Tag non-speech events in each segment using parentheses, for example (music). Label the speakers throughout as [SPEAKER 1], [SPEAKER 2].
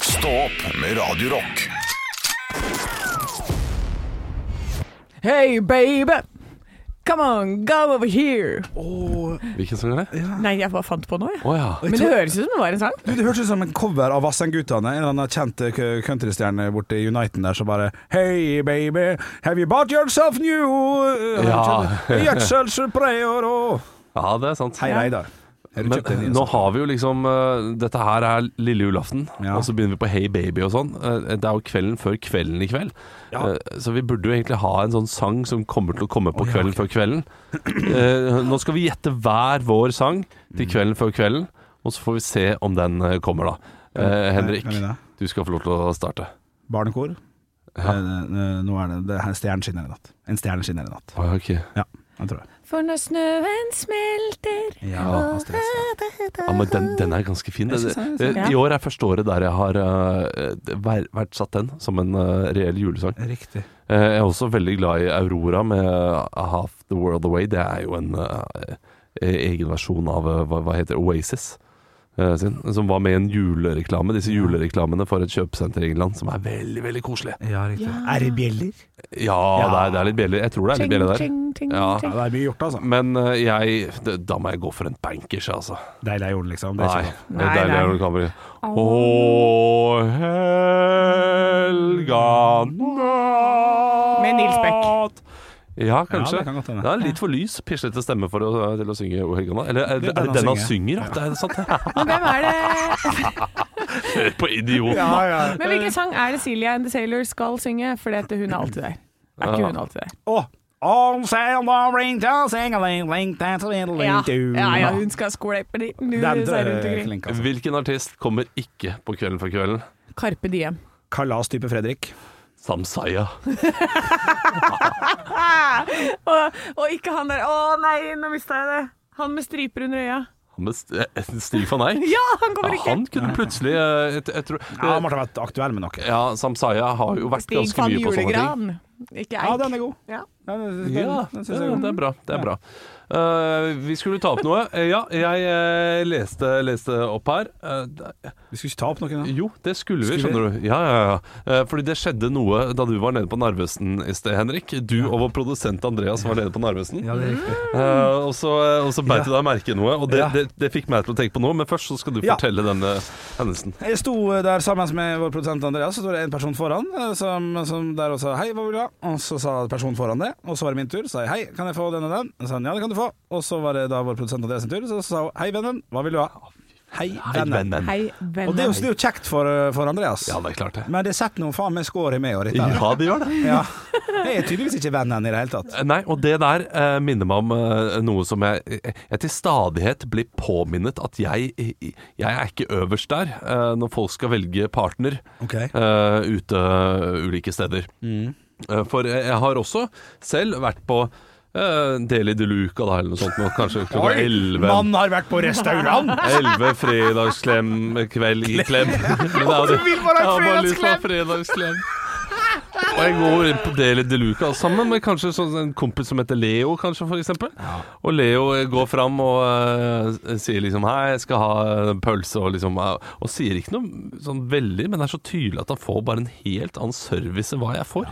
[SPEAKER 1] Stå opp med Radio Rock.
[SPEAKER 2] Hey baby, come on, go over here.
[SPEAKER 3] Hvilken sang er det?
[SPEAKER 2] Nei, jeg bare fant på noe, jeg.
[SPEAKER 3] Å ja.
[SPEAKER 2] Men det høres ut som det var en sang.
[SPEAKER 4] Du, Det hørtes ut som en cover av Vassendgutane. En eller annen kjent eh, kø- countrystjerne borte i Uniten der som bare Hey baby, have you bought yourself new eh,
[SPEAKER 3] Ja.
[SPEAKER 4] (laughs) gjødselsprayer?»
[SPEAKER 3] ja, det er sant.
[SPEAKER 4] Hei, Reidar. Har du kjøpt en
[SPEAKER 3] Men
[SPEAKER 4] ny? sånn?
[SPEAKER 3] nå har vi jo liksom eh, Dette her er lille julaften,
[SPEAKER 4] Ja.
[SPEAKER 3] og så begynner vi på Hey Baby og sånn. Eh, det er jo kvelden før kvelden i kveld. Eh, så vi burde jo egentlig ha en sånn sang som kommer til å komme på kvelden før kvelden. Eh, nå skal vi gjette hver vår sang
[SPEAKER 4] Mm.
[SPEAKER 3] til kvelden før kvelden, og så får vi se om den eh, kommer, da. Eh, Henrik,
[SPEAKER 4] Kan vi det?
[SPEAKER 3] du skal få lov til å starte.
[SPEAKER 4] Barnekor. Eh, eh, Nå er det, det er stjernen skinner i natt. En stjerne skinner i natt.
[SPEAKER 3] Å, ok.
[SPEAKER 4] Ja, jeg tror det.
[SPEAKER 2] For når snøen smelter
[SPEAKER 4] Ja,
[SPEAKER 3] altså,
[SPEAKER 4] Astrid S.
[SPEAKER 3] Ja, men den, den er ganske fin. Det, det, I år er første året der jeg har eh, ver- verdsatt den som en eh, reell julesang.
[SPEAKER 4] Riktig.
[SPEAKER 3] Eh, jeg er også veldig glad i Aurora med eh, Half the World Away. Det er jo en eh, egen versjon av eh, hva, hva heter det? Oasis. eh, sin, som var med i en julereklame, disse julereklamene for et kjøpesenter i England, som er veldig veldig koselig.
[SPEAKER 4] Ja, riktig. Er det bjeller?
[SPEAKER 3] Ja, Det, er, det er litt bjeller. Jeg tror det er litt bjeller der. Ja.
[SPEAKER 4] Ja, det er mye gjort, altså.
[SPEAKER 3] Men eh, jeg det, Da må jeg gå for en bankers, altså.
[SPEAKER 4] Deilig er jorden, liksom. Det er
[SPEAKER 3] Nei,
[SPEAKER 4] ikke sant.
[SPEAKER 3] det er deilig
[SPEAKER 2] nei.
[SPEAKER 3] når det kommer i Å, helga natt
[SPEAKER 2] Med Nils Beck.
[SPEAKER 3] Ja,
[SPEAKER 4] Ja,
[SPEAKER 3] kanskje.
[SPEAKER 4] det kan godt hende.
[SPEAKER 3] det er litt for lys, pislete stemme for å, til å synge O helga natt. Eller er,
[SPEAKER 4] Det
[SPEAKER 3] er det den han synger?
[SPEAKER 4] Ja.
[SPEAKER 3] da? Det er sant.
[SPEAKER 2] Men hvem er det
[SPEAKER 3] Hør på idioten.
[SPEAKER 4] Ja,
[SPEAKER 3] da.
[SPEAKER 4] ja.
[SPEAKER 2] Men hvilken sang er det Silja and the Sailors skal synge? Fordi at hun er alltid der. Er ikke hun alltid der?
[SPEAKER 4] Å! On sale, on ring, don't sing a ling, ling, that's a little ling, do.
[SPEAKER 2] ja, ja hun skal skåle på de
[SPEAKER 4] Den
[SPEAKER 2] rundt
[SPEAKER 4] er
[SPEAKER 2] omkring.
[SPEAKER 4] flink, altså.
[SPEAKER 3] Hvilken artist kommer ikke på Kvelden for kvelden?
[SPEAKER 2] Karpe Diem.
[SPEAKER 4] Kalas-type Fredrik.
[SPEAKER 3] Samsaya.
[SPEAKER 2] Ah! Og, og ikke han der Å nei, nå mista jeg det. Han med striper under øya.
[SPEAKER 3] Han med st- eh, Stig van Eyck.
[SPEAKER 2] Ja, han kommer
[SPEAKER 3] Ja,
[SPEAKER 2] ikke!
[SPEAKER 3] han kunne plutselig eh, jeg, jeg tror,
[SPEAKER 4] Ja, han måtte ha vært aktuell med noe.
[SPEAKER 3] ja, Samsaya har jo vært
[SPEAKER 2] Stig
[SPEAKER 3] ganske
[SPEAKER 2] van
[SPEAKER 3] mye på sånne ting.
[SPEAKER 2] Julegran. Ikke
[SPEAKER 4] Ja,
[SPEAKER 2] Eik.
[SPEAKER 4] den er god.
[SPEAKER 2] Ja.
[SPEAKER 4] Ja, den-
[SPEAKER 3] Ja,
[SPEAKER 4] den
[SPEAKER 3] det,
[SPEAKER 4] synes jeg er god.
[SPEAKER 3] det er bra. Det er bra. Eh, vi skulle ta opp noe. Eh, Ja, jeg eh, leste, leste opp her. Eh, det-
[SPEAKER 4] Vi skulle ikke ta opp noe nå.
[SPEAKER 3] jo, det skulle vi,
[SPEAKER 4] Skulle vi?
[SPEAKER 3] skjønner du. Ja, ja, ja. Eh, fordi det skjedde noe da du var nede på Narvesen i sted, Henrik. Du og vår produsent Andreas var nede på Narvesen.
[SPEAKER 4] Ja, det er riktig.
[SPEAKER 3] Eh, og så, og så beit du deg merke i noe, og det,
[SPEAKER 4] Ja.
[SPEAKER 3] det, det fikk meg til å tenke på noe. Men først så skal du
[SPEAKER 4] Ja.
[SPEAKER 3] fortelle denne hendelsen.
[SPEAKER 4] Jeg sto eh, der sammen med vår produsent Andreas, så sto det en person foran eh, som, som der og sa 'hei, hva vil du ha?' Og så sa personen foran det, og så var det min tur. Så sa jeg 'hei, kan jeg få den og den?' Og så sa han 'ja, det kan du få'. Og så var det da vår produsent Andreas sin tur, så sa hun 'hei, vennen, hva vil du ha?' Hei, vennen.
[SPEAKER 3] vennen.
[SPEAKER 2] Hei,
[SPEAKER 4] Og det er jo,
[SPEAKER 2] vennen.
[SPEAKER 4] det er jo kjekt for, eh, for Andreas.
[SPEAKER 3] Ja, det er klart det.
[SPEAKER 4] Men det setter noe faen meg skår i meg og dette. her.
[SPEAKER 3] Ja, det gjør det.
[SPEAKER 4] Ja. Jeg er tydeligvis ikke vennen i det hele tatt.
[SPEAKER 3] Nei, og det der eh, minner meg om eh, noe som jeg, jeg, jeg til stadighet blir påminnet at jeg, jeg er ikke øverst der eh, når folk skal velge partner
[SPEAKER 4] Ok.
[SPEAKER 3] eh, ute ulike steder. Eh, for jeg, jeg har også selv vært på uh, Deli de Luca da, eller noe sånt, nå, kanskje klokka elleve.
[SPEAKER 4] Mannen har vært på restaurant!
[SPEAKER 3] (laughs) Elleve fredagsklem kveld i klem.
[SPEAKER 4] (laughs)
[SPEAKER 3] Men det er jo-
[SPEAKER 4] Du vil bare ha
[SPEAKER 3] Jeg har bare
[SPEAKER 4] fredagsklem.
[SPEAKER 3] lyst til å ha fredagsklem. Og jeg går inn på Deli de Luca sammen med kanskje sånn en kompis som heter Leo, kanskje, for eksempel. Og Leo eh, går fram og eh, sier liksom 'hei, jeg skal ha en pølse', og liksom eh, Og sier ikke noe sånn veldig, men det er så tydelig at han får bare en helt annen service enn hva jeg får.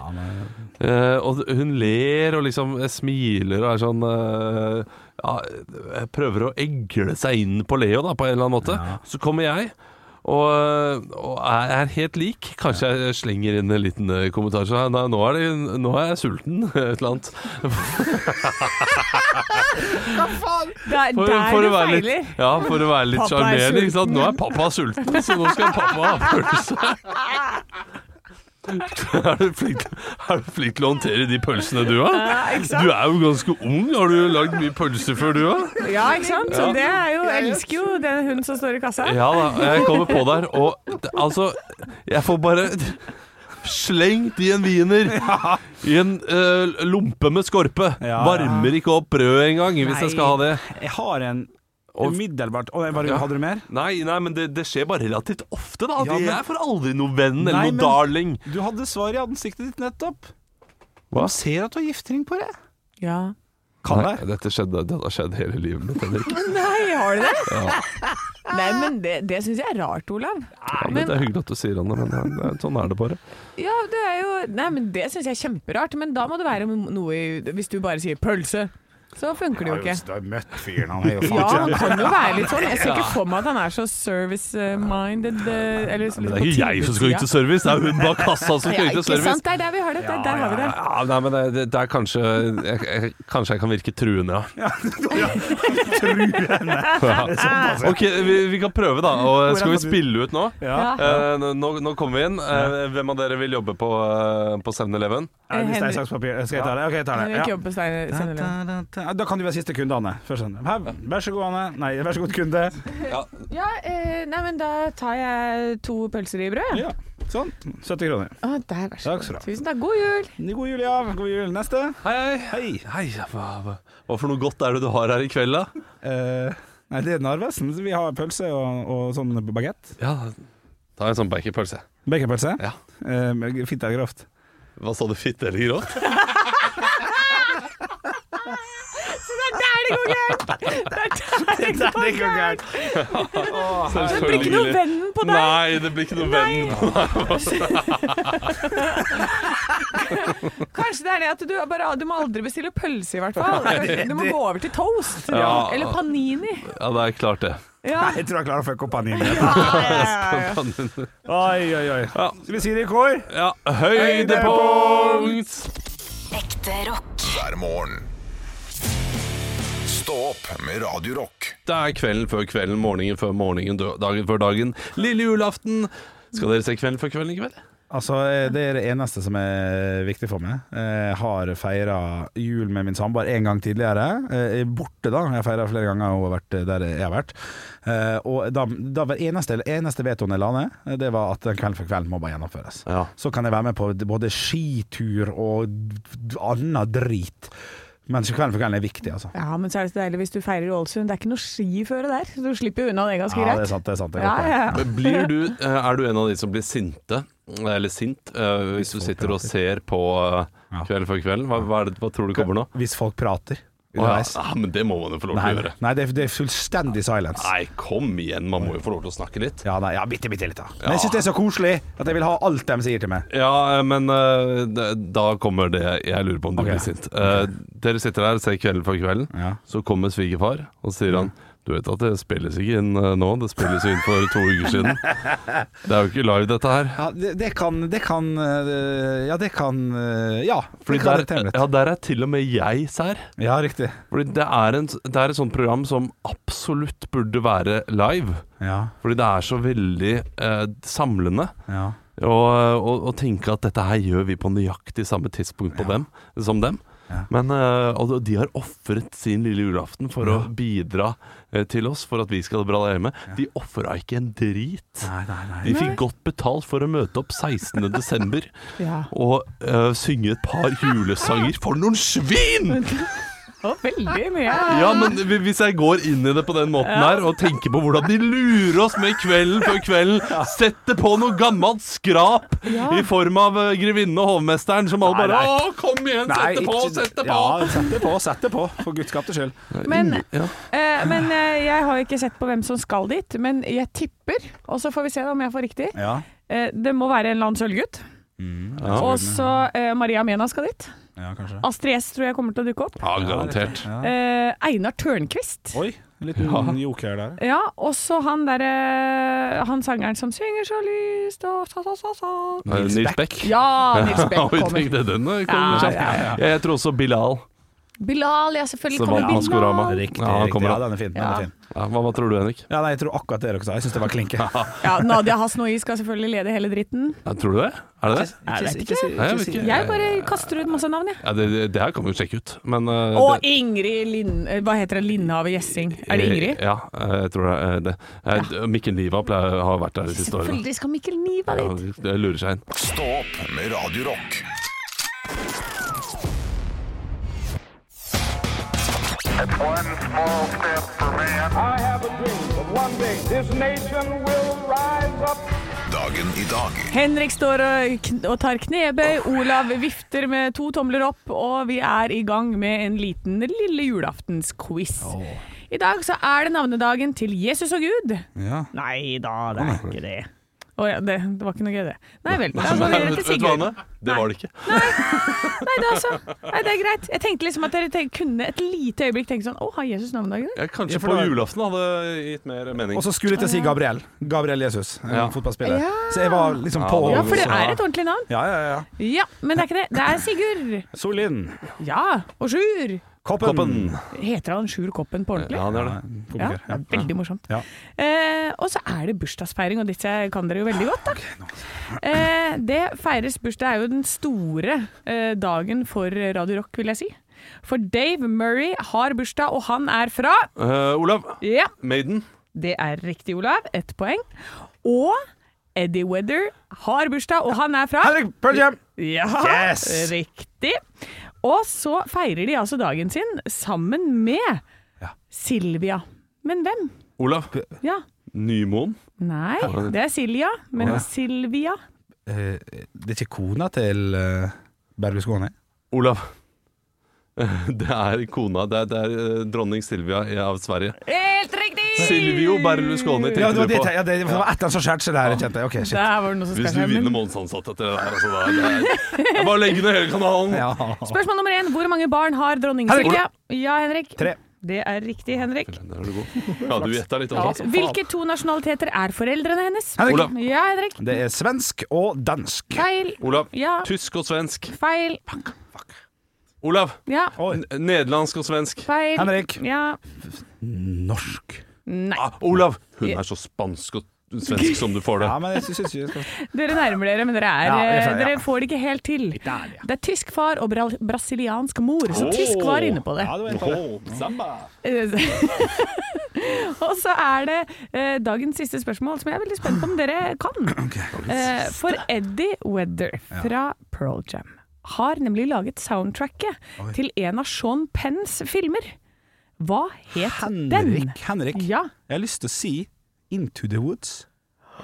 [SPEAKER 3] Eh, og hun ler og liksom smiler og er sånn eh, ja, eh, Prøver å egle seg inn på Leo da, på en eller annen måte. Så kommer jeg. Og, eh, og er er helt lik. Kanskje jeg slenger inn en liten eh, kommentar. Så nei, nå, er det, nå er jeg sulten, (laughs) et eller annet.
[SPEAKER 2] Det er
[SPEAKER 3] For,
[SPEAKER 2] der
[SPEAKER 3] for
[SPEAKER 2] du
[SPEAKER 3] å være litt-
[SPEAKER 2] feiler.
[SPEAKER 3] Ja, for å være litt
[SPEAKER 2] Pappa er
[SPEAKER 3] sjarmerende. ikke sant?
[SPEAKER 2] sulten.
[SPEAKER 3] Nå er pappa sulten, så nå skal pappa ha
[SPEAKER 2] (laughs)
[SPEAKER 3] pølse. (laughs) Er du, flink, er du flink til å håndtere de pølsene du har?
[SPEAKER 2] Ja, ikke sant?
[SPEAKER 3] Du er jo ganske ung. Har du lagd mye pølser før, du òg?
[SPEAKER 2] Ja, ikke sant? Så det er jo, jeg elsker jo den hunden som står i kassa.
[SPEAKER 3] Ja da, jeg kommer på der, og det- altså Jeg får bare slengt i en wiener. I en eh, lompe med skorpe.
[SPEAKER 4] Ja.
[SPEAKER 3] Varmer ikke opp brødet engang, hvis jeg skal ha det.
[SPEAKER 4] Jeg har en
[SPEAKER 3] Og-
[SPEAKER 4] umiddelbart Å, jeg bare,
[SPEAKER 3] Ja.
[SPEAKER 4] Hadde du mer?
[SPEAKER 3] Nei, nei, men det, det skjer bare relativt ofte, da.
[SPEAKER 4] Ja,
[SPEAKER 3] De-
[SPEAKER 4] men-
[SPEAKER 3] Jeg får aldri noen venn eller
[SPEAKER 4] Nei,
[SPEAKER 3] noen
[SPEAKER 4] men-
[SPEAKER 3] darling.
[SPEAKER 4] Du hadde svar i ansiktet ditt nettopp.
[SPEAKER 3] Hva?
[SPEAKER 4] Du ser at du har giftring på det.
[SPEAKER 2] Ja.
[SPEAKER 4] Kan
[SPEAKER 3] Nei,
[SPEAKER 4] det.
[SPEAKER 3] dette skjedde, det har skjedd hele livet mitt, Henrik.
[SPEAKER 2] Nei, har du det? (laughs) Nei, men det, det syns jeg er rart, Olav.
[SPEAKER 3] Ja, men,
[SPEAKER 2] Men-
[SPEAKER 3] det er hyggelig at du sier Anne, men det er, sånn er det bare.
[SPEAKER 2] Ja, det er jo Nei, men det syns jeg er kjemperart. Men da må det være noe i Hvis du bare sier pølse, så funker det jo ikke.
[SPEAKER 4] altså, Du har møtt fyren, han er (laughs) jo
[SPEAKER 2] Ja, han
[SPEAKER 4] faen
[SPEAKER 2] kan jo være litt sånn. Jeg ser ikke for meg at han er så service-minded. eh, eller så litt
[SPEAKER 3] Men det er
[SPEAKER 2] på
[SPEAKER 3] ikke jeg som skal
[SPEAKER 2] tilbudssida.
[SPEAKER 3] yte service, det er hun bak kassa som skal
[SPEAKER 2] Ja,
[SPEAKER 3] yte
[SPEAKER 2] ikke
[SPEAKER 3] service.
[SPEAKER 2] sant? Det er der vi har det. Det er der har vi det.
[SPEAKER 3] Ja, nei, men det, det, det er kanskje jeg, jeg, Kanskje jeg kan virke truende, ja. (laughs)
[SPEAKER 4] Såpass, ja.
[SPEAKER 3] Ok, vi, vi kan prøve, da. Og skal vi spille ut nå?
[SPEAKER 4] altså. Ja.
[SPEAKER 2] Ja.
[SPEAKER 3] Eh, nå, nå kommer vi inn. Eh, hvem av dere vil jobbe på, eh, på 7-Eleven?
[SPEAKER 4] Er det stein, saks, papir? Skal jeg ta det? Ok, jeg tar det.
[SPEAKER 2] Jeg vil ikke
[SPEAKER 4] Ja.
[SPEAKER 2] jobbe på Stein-
[SPEAKER 4] Da,
[SPEAKER 2] Stein-Eleven.
[SPEAKER 4] da, da. da kan du være siste kunde, Anne. Først, Anne. Her, Vær så god, Anne. Nei, vær så god, kunde.
[SPEAKER 2] Ja, eh, nei, men da tar jeg to pølser i brød.
[SPEAKER 4] Ja. Sånn. 70 kroner.
[SPEAKER 2] Å, der, vær så
[SPEAKER 4] Takk skal du
[SPEAKER 2] god.
[SPEAKER 4] ha.
[SPEAKER 2] Tusen takk. God (laughs) jul!
[SPEAKER 4] God jul, ja. God jul. Neste.
[SPEAKER 3] Hei, hei.
[SPEAKER 4] Hei.
[SPEAKER 3] hei hva, hva, hva for noe godt er det du har her i kveld, da?
[SPEAKER 4] Eh, nei, det er Narvesen. Vi har pølse og, og sånn bagett.
[SPEAKER 3] Ja, ta en sånn baconpølse.
[SPEAKER 4] Baconpølse.
[SPEAKER 3] Ja.
[SPEAKER 4] Eh, fint eller grovt?
[SPEAKER 3] Hva sa du, fitte eller grått?
[SPEAKER 2] Det er der det går gærent! (laughs) Det er der det går gærent. Det blir ikke noe vennen på deg.
[SPEAKER 3] Nei, det blir ikke noe venn.
[SPEAKER 2] Kanskje det er det at du bare Du må aldri bestille pølse, i hvert fall. Du må gå over til toast.
[SPEAKER 3] Ja.
[SPEAKER 2] Eller panini.
[SPEAKER 3] Ja, det er klart det.
[SPEAKER 2] Ja.
[SPEAKER 4] Jeg tror jeg klarer å fucke opp han inn.
[SPEAKER 3] Ja,
[SPEAKER 4] (laughs) Oi, oi, oi. Skal vi si det i kår?
[SPEAKER 3] høydepunkt!
[SPEAKER 5] Ekte rock.
[SPEAKER 1] hver morgen. Stå opp med Radio Rock.
[SPEAKER 3] Det er kvelden før kvelden, morgenen før morgenen, dø- dagen før dagen. Lille julaften! Skal dere se Kvelden før kvelden i kveld?
[SPEAKER 4] Altså, eh, det er det eneste som er viktig for meg. Eh, Jeg har feira jul med min samboer en gang tidligere. Eh, jeg er Borte, da. Jeg har feira flere ganger hun har vært der jeg har vært. Eh, Og da, da var eneste, eneste vetoen jeg la ned, eh, det var at Kveld for kveld må bare gjennomføres.
[SPEAKER 3] Ja.
[SPEAKER 4] Så kan jeg være med på både skitur og d- annen drit. Men Kveld for kveld er viktig, altså.
[SPEAKER 2] ja, men så er det så deilig hvis du feirer i Ålesund. Det er ikke noe skiføre der, så du slipper jo unna det ganske
[SPEAKER 4] Ja, det er
[SPEAKER 2] greit.
[SPEAKER 4] sant. det Er sant det er
[SPEAKER 2] Ja,
[SPEAKER 4] godt, det.
[SPEAKER 2] ja.
[SPEAKER 3] Men Blir du, eh, er du en av de som blir sinte, eller sint, eh, hvis du sitter og ser på eh, Kvelden før kvelden? Hva, hva, er det, hva tror du kommer nå?
[SPEAKER 4] Hvis folk prater
[SPEAKER 3] Å, ja.
[SPEAKER 4] underveis.
[SPEAKER 3] ja, Ah, men det må man jo få lov til å
[SPEAKER 4] Nei,
[SPEAKER 3] gjøre.
[SPEAKER 4] nei det, er, det er fullstendig silence.
[SPEAKER 3] Nei, kom igjen, man må jo få lov til å snakke litt.
[SPEAKER 4] Ja, nei, ja, bitte, bitte litt, da. Men jeg syns det er så koselig at jeg vil ha alt de sier til meg.
[SPEAKER 3] Ja, eh, men eh, det- da kommer det jeg lurer på om du
[SPEAKER 4] Ok.
[SPEAKER 3] blir sint. Eh, Dere sitter der og ser Kvelden for kvelden.
[SPEAKER 4] Ja. Mm.
[SPEAKER 3] Så kommer svigerfar og sier han Du vet at det spilles ikke inn eh, nå, det spilles inn for to uker
[SPEAKER 4] (laughs)
[SPEAKER 3] siden. Det er jo ikke live, dette her.
[SPEAKER 4] Ja, det, det kan Det kan øh, Ja, det kan øh, Ja.
[SPEAKER 3] Fordi
[SPEAKER 4] det kan jeg
[SPEAKER 3] der,
[SPEAKER 4] temmelig.
[SPEAKER 3] ja, der er til og med jeg sær.
[SPEAKER 4] Ja, riktig.
[SPEAKER 3] Fordi det er, en, det er et sånt program som absolutt burde være live.
[SPEAKER 4] Ja,
[SPEAKER 3] Fordi det er så veldig eh, samlende.
[SPEAKER 4] ja.
[SPEAKER 3] Og, og, og tenke at dette her gjør vi på nøyaktig samme tidspunkt på dem, som dem.
[SPEAKER 4] Ja.
[SPEAKER 3] Men, eh, og de har ofret sin lille julaften for å bidra eh, til oss, for at vi skal ha det bra der hjemme. De ofra ikke en drit.
[SPEAKER 4] Nei, nei, nei.
[SPEAKER 3] De fikk godt betalt for å møte opp 16.12.
[SPEAKER 2] ja.
[SPEAKER 3] og eh, synge et par julesanger. For noen svin!
[SPEAKER 2] Og veldig mye.
[SPEAKER 3] Ja, men hvi- hvis jeg går inn i det på den måten her, og tenker på hvordan de lurer oss med Kvelden før kvelden, setter på noe gammelt skrap
[SPEAKER 2] Ja.
[SPEAKER 3] i form av eh, grevinnen og hovmesteren, som alle
[SPEAKER 4] Nei,
[SPEAKER 3] bare
[SPEAKER 4] nei.
[SPEAKER 3] Å, kom igjen, sett det på,
[SPEAKER 4] ikke-
[SPEAKER 3] sett det på! Mm,
[SPEAKER 4] Ja, sett det på, sett det på. For guds skapte skyld.
[SPEAKER 2] Men,
[SPEAKER 3] Ja.
[SPEAKER 2] eh, men eh, jeg har jo ikke sett på hvem som skal dit, men jeg tipper, og så får vi se da om jeg får riktig,
[SPEAKER 4] Ja.
[SPEAKER 2] eh, det må være en eller annen sølvgutt.
[SPEAKER 3] Ja.
[SPEAKER 2] Og så eh, Maria Mena skal dit.
[SPEAKER 4] Mm, ja, kanskje.
[SPEAKER 2] Astrid S tror jeg kommer til å dukke opp.
[SPEAKER 3] ja, garantert.
[SPEAKER 4] Ja.
[SPEAKER 2] Eh, Einar Tørnquist.
[SPEAKER 4] Oi, en liten joker der.
[SPEAKER 2] Ja, og så han derre Han sangeren som synger så lyst og sa, sa, sa, sa.
[SPEAKER 3] Eh, Nils Beck.
[SPEAKER 2] Ja, Nils
[SPEAKER 3] (laughs)
[SPEAKER 2] Beck
[SPEAKER 3] Oi,
[SPEAKER 2] kommer.
[SPEAKER 3] tenk det, den eh,
[SPEAKER 2] Ja,
[SPEAKER 3] kommer kjapt.
[SPEAKER 2] ja,
[SPEAKER 3] Jeg jeg tror også Bilal.
[SPEAKER 2] Bilal, ja, selvfølgelig
[SPEAKER 3] Så var
[SPEAKER 2] kommer
[SPEAKER 3] han Skorama.
[SPEAKER 2] Bilal.
[SPEAKER 4] Riktig,
[SPEAKER 3] Ja, han
[SPEAKER 4] riktig.
[SPEAKER 3] kommer
[SPEAKER 4] Ja,
[SPEAKER 3] opp.
[SPEAKER 4] den er fin. Den
[SPEAKER 2] Ja.
[SPEAKER 4] er fin.
[SPEAKER 3] Ja, hva, hva tror du, Henrik?
[SPEAKER 4] Ja, nei, jeg tror akkurat det dere sa. Jeg syns det var (laughs) klinke.
[SPEAKER 2] Ja, Nadia Hasnoi skal selvfølgelig lede hele dritten.
[SPEAKER 3] Ja, tror du det? Er det det?
[SPEAKER 4] Nei, jeg vet ikke.
[SPEAKER 3] Nei, jeg vet ikke.
[SPEAKER 2] Jeg bare kaster ut masse navn, jeg.
[SPEAKER 3] Ja, det, det, det her kan vi jo sjekke ut, men eh,
[SPEAKER 2] Og
[SPEAKER 3] det-
[SPEAKER 2] Ingrid Lind... eh, Hva heter det? Lindhave Gjessing. Er det Ingrid?
[SPEAKER 3] Ja, eh, jeg tror det er det. Eh, Mikkel Niva pleier, har vært der de siste årene.
[SPEAKER 2] Selvfølgelig skal Mikkel Niva
[SPEAKER 3] Ja,
[SPEAKER 2] dit.
[SPEAKER 3] det lurer seg inn.
[SPEAKER 1] Stå opp med Radio Rock.
[SPEAKER 6] One small step for man. I have a dream that one day this nation will rise up.
[SPEAKER 1] Dagen i dag
[SPEAKER 2] Henrik står og, kn og tar knebøy, Olav vifter med to tomler opp, og vi er i gang med en liten lille julaftensquiz. I dag så er det navnedagen til Jesus og Gud.
[SPEAKER 4] Ja.
[SPEAKER 2] Nei da, det er ikke det. Å ja, det, det var ikke noe gøy, det. Nei vel. Da går vi
[SPEAKER 3] Men,
[SPEAKER 2] videre
[SPEAKER 3] (laughs) vet
[SPEAKER 2] til
[SPEAKER 3] vet du hva,
[SPEAKER 2] Sigurd.
[SPEAKER 3] Anne? Det var det ikke.
[SPEAKER 2] Nei, det, er altså, nei, det er greit. Jeg tenkte liksom at dere tenk- kunne et lite øyeblikk tenke sånn Å, har Jesus navnedagen?
[SPEAKER 3] Jeg, kanskje
[SPEAKER 4] Ja, for
[SPEAKER 3] på
[SPEAKER 4] det var-
[SPEAKER 3] julaften hadde gitt mer mening.
[SPEAKER 4] Og så skulle jeg til å si Gabriel. Gabriel Jesus, en
[SPEAKER 3] Ja.
[SPEAKER 4] fotballspiller.
[SPEAKER 2] Ja.
[SPEAKER 4] Så jeg var liksom på
[SPEAKER 2] Ja,
[SPEAKER 3] Ja,
[SPEAKER 2] for det
[SPEAKER 3] så-
[SPEAKER 2] er et ordentlig navn.
[SPEAKER 4] Ja, ja, ja.
[SPEAKER 2] Ja, men det er ikke det. Det er Sigurd.
[SPEAKER 4] Solin.
[SPEAKER 2] Ja. Og Sjur.
[SPEAKER 4] Koppen.
[SPEAKER 2] Heter han Sjur Koppen på ordentlig?
[SPEAKER 3] Ja, det er det.
[SPEAKER 2] Ja,
[SPEAKER 4] Komiker.
[SPEAKER 2] det er veldig morsomt.
[SPEAKER 4] Ja.
[SPEAKER 2] Eh, og så er det bursdagsfeiring, og dette kan dere jo veldig godt. Da. Eh, det feires bursdag er jo den store eh, dagen for Radio Rock, vil jeg si. For Dave Murray har bursdag, og han er fra
[SPEAKER 3] Eh, Olav.
[SPEAKER 2] Ja,
[SPEAKER 3] Maiden.
[SPEAKER 2] det er riktig, Olav. Ett poeng. Og Eddie Weather har bursdag, og han er fra
[SPEAKER 4] Henrik Pearl Jam.
[SPEAKER 2] Ja,
[SPEAKER 4] Yes!
[SPEAKER 2] riktig. Og så feirer de altså dagen sin sammen med Silvia. Men hvem?
[SPEAKER 3] Olav.
[SPEAKER 2] Ja,
[SPEAKER 3] Nymoen.
[SPEAKER 2] Nei, det er Silja, men
[SPEAKER 4] Å, ja.
[SPEAKER 2] Silvia
[SPEAKER 4] Eh, Det er ikke kona til eh, Berlusconi?
[SPEAKER 3] Olav. (laughs) Det er kona Det er, det er eh, dronning Silvia av Sverige.
[SPEAKER 2] Helt riktig!
[SPEAKER 3] Silvio Berlusconi
[SPEAKER 4] Ja, det
[SPEAKER 3] tenkte du
[SPEAKER 4] var, det,
[SPEAKER 3] på.
[SPEAKER 4] ja, det det var ett av dem som skjærte seg der, kjente jeg. Ok, shit.
[SPEAKER 2] Der var det noe som
[SPEAKER 3] Hvis
[SPEAKER 2] skar
[SPEAKER 3] du
[SPEAKER 2] seg,
[SPEAKER 3] vinner
[SPEAKER 2] men-
[SPEAKER 3] Månedsansatt etter det her, altså da er det Jeg bare legger ned hele kanalen.
[SPEAKER 4] Ja.
[SPEAKER 2] Spørsmål nummer én. Hvor mange barn har dronning
[SPEAKER 4] Henrik.
[SPEAKER 2] Silvia? Ja, Henrik.
[SPEAKER 4] Tre.
[SPEAKER 2] Det er riktig, Henrik.
[SPEAKER 3] Der er du god. Ja, du gjetta litt altså. også.
[SPEAKER 2] Hvilke to nasjonaliteter er foreldrene hennes?
[SPEAKER 4] Henrik.
[SPEAKER 3] Olav.
[SPEAKER 2] Ja, Henrik.
[SPEAKER 4] Det er svensk og dansk.
[SPEAKER 2] Feil.
[SPEAKER 3] Olav.
[SPEAKER 2] Ja.
[SPEAKER 3] Tysk og svensk.
[SPEAKER 2] Feil.
[SPEAKER 3] Olav.
[SPEAKER 2] Ja.
[SPEAKER 4] Oi.
[SPEAKER 3] N- Nederlandsk og svensk.
[SPEAKER 2] Feil.
[SPEAKER 4] Henrik.
[SPEAKER 2] Ja.
[SPEAKER 4] Norsk.
[SPEAKER 2] Nei.
[SPEAKER 3] Ah, Olav! Hun er så spansk og svensk som du får det.
[SPEAKER 4] Ja, men jeg syns ikke skal
[SPEAKER 2] Dere nærmer dere, men dere, er, eh,
[SPEAKER 4] Ja, det er feil, ja.
[SPEAKER 2] dere får det ikke helt til.
[SPEAKER 4] Italia.
[SPEAKER 2] Det er tysk far og bra brasiliansk mor, så
[SPEAKER 3] Åh.
[SPEAKER 2] tysk var inne på det. (laughs)
[SPEAKER 4] Ja, det var en av det.
[SPEAKER 2] og så er det eh, dagens siste spørsmål, som jeg er veldig spent på om dere kan.
[SPEAKER 4] (clears throat)
[SPEAKER 2] Eh, for Eddie Weather fra Pearl Jam har nemlig laget soundtracket til en av Sean Penns filmer. Hva het den?
[SPEAKER 4] Henrik, Henrik.
[SPEAKER 2] Ja.
[SPEAKER 4] Jeg har lyst til å si Into the Woods.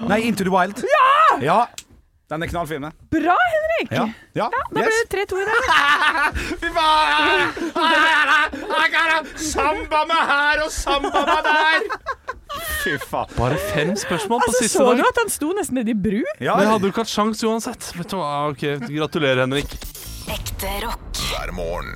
[SPEAKER 4] Nei, Into the Wild. Ja! ja. Den er knallfin, den.
[SPEAKER 2] Bra, Henrik!
[SPEAKER 4] Ja. ja.
[SPEAKER 2] Da ble det 3-2 i
[SPEAKER 4] (laughs)
[SPEAKER 2] dag.
[SPEAKER 4] Fy faen! Samba meg her og samba meg der! Fy faen.
[SPEAKER 3] Bare fem spørsmål på
[SPEAKER 2] Altså,
[SPEAKER 3] siste
[SPEAKER 2] så du
[SPEAKER 3] dag.
[SPEAKER 2] at han sto nesten nedi bru?
[SPEAKER 4] Ja,
[SPEAKER 3] Men jeg hadde jo ikke hatt sjans uansett. Vet du hva? Ah, Ok, Gratulerer, Henrik.
[SPEAKER 5] Ekte rock.
[SPEAKER 1] hver morgen.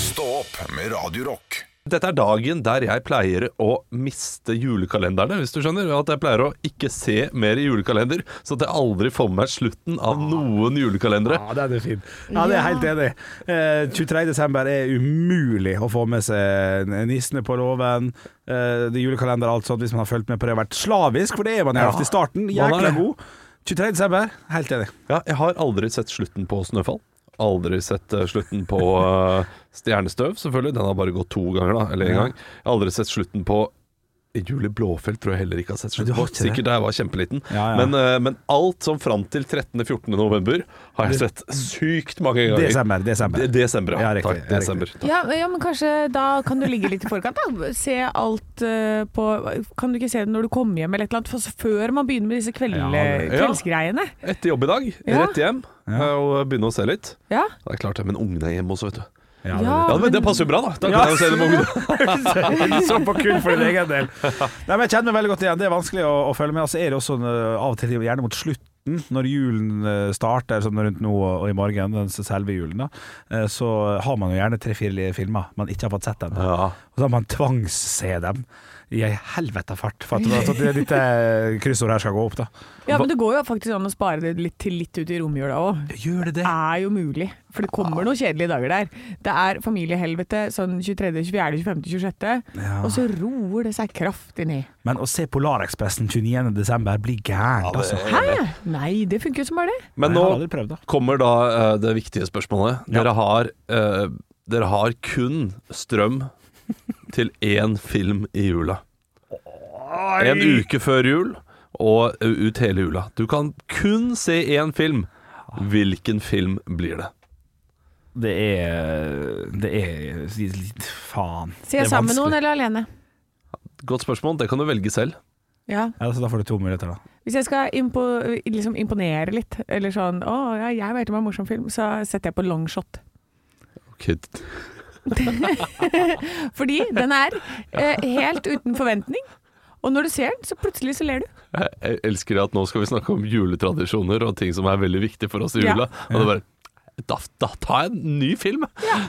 [SPEAKER 1] Stå opp med Radio Rock.
[SPEAKER 3] Dette er dagen der jeg pleier å miste julekalenderne, hvis du skjønner. At jeg pleier å ikke se mer i julekalender, så at jeg aldri får med meg slutten av noen julekalendere.
[SPEAKER 4] Ja, den er fin. Ja, det er jeg helt enig. i. Eh, 23. desember er umulig å få med seg nissene på låven, eh, det er julekalender og alt sånt, hvis man har fulgt med på det og vært slavisk, for det er man jo ofte i starten.
[SPEAKER 3] Man er
[SPEAKER 4] Jækla
[SPEAKER 3] det.
[SPEAKER 4] god. 23. desember, helt enig.
[SPEAKER 3] Ja, jeg har aldri sett slutten på Snøfall. Aldri sett eh, slutten på eh, Stjernestøv, selvfølgelig. Den har bare gått to ganger, da. Eller én gang. Jeg har aldri sett slutten på Julie Blåfelt tror jeg heller ikke har sett
[SPEAKER 4] Du
[SPEAKER 3] slutten
[SPEAKER 4] har
[SPEAKER 3] på.
[SPEAKER 4] ikke det?
[SPEAKER 3] Sikkert da jeg var kjempeliten.
[SPEAKER 4] Ja, ja.
[SPEAKER 3] Men, eh, men alt som fram til 13.-14. november har jeg sett sykt mange ganger.
[SPEAKER 4] Desember, desember.
[SPEAKER 3] De- Desember, ja.
[SPEAKER 4] Ja, riktig,
[SPEAKER 3] Takk.
[SPEAKER 4] ja, riktig.
[SPEAKER 3] desember. Takk.
[SPEAKER 2] Ja, ja, men kanskje da kan du ligge litt i forkant. Da. Se alt eh, på Kan du ikke se det når du kommer hjem, eller et eller annet? For så- før man begynner med disse kveld,
[SPEAKER 4] det-
[SPEAKER 3] Ja.
[SPEAKER 2] kveldsgreiene.
[SPEAKER 3] Etter jobb i dag,
[SPEAKER 2] Ja.
[SPEAKER 3] rett hjem eh, og begynne å se litt.
[SPEAKER 2] Ja.
[SPEAKER 3] Det er klart det, men ungene er hjemme også, vet du.
[SPEAKER 4] Ja,
[SPEAKER 2] Ja,
[SPEAKER 3] Ja, men Det
[SPEAKER 2] men-
[SPEAKER 3] passer jo bra, da. Da
[SPEAKER 4] Ja.
[SPEAKER 3] kan jeg se det med
[SPEAKER 4] (laughs)
[SPEAKER 3] ungene.
[SPEAKER 4] Så på kun for din egen del. Nei, men jeg kjenner meg veldig godt igjen. Det er vanskelig å, å følge med. Og så er det også eh, av og til gjerne mot slutten, når julen eh, starter sånn rundt nå og, og i morgen, den selve julen, da, eh, så har man jo gjerne tre-fire filmer man ikke har fått sett ennå.
[SPEAKER 3] Ja.
[SPEAKER 4] Og så har man tvangsse dem i ei helvete fart for at, at det dette kryssordet her skal gå opp, da.
[SPEAKER 2] ja, men det går jo faktisk an å spare det litt til litt ut i romjula òg.
[SPEAKER 4] Gjør det
[SPEAKER 2] Det er jo mulig, for det kommer noen kjedelige dager der. Det er familiehelvete sånn 23., 24., 25., 26., og så roer det seg kraftig ned.
[SPEAKER 4] Men å se Polarekspressen 29. desember blir gærent, altså.
[SPEAKER 2] Hæ? Nei, det funker jo som bare det.
[SPEAKER 3] Men
[SPEAKER 4] Jeg
[SPEAKER 3] nå
[SPEAKER 4] har aldri prøvd, da.
[SPEAKER 3] kommer da eh, det viktige spørsmålet. Dere, har, eh, dere har kun strøm til én film i jula. En uke før jul og ut hele jula. Du kan kun se én film. Hvilken film blir det?
[SPEAKER 4] Det er Det er litt Faen.
[SPEAKER 2] Se sammen med noen eller alene.
[SPEAKER 3] Godt spørsmål. Det kan du velge selv.
[SPEAKER 2] Ja.
[SPEAKER 4] Ja, så Da får du to muligheter, da.
[SPEAKER 2] Hvis jeg skal impo, liksom imponere litt, eller sånn 'Å, ja, jeg vet om en morsom film', så setter jeg på long shot.
[SPEAKER 3] Ok,
[SPEAKER 2] Fordi den er eh, helt uten forventning. Og når du ser den, så plutselig så ler du.
[SPEAKER 3] Jeg elsker at nå skal vi snakke om juletradisjoner og ting som er veldig viktig for oss i
[SPEAKER 2] Ja.
[SPEAKER 3] jula. Og det er bare da, da tar jeg en ny film!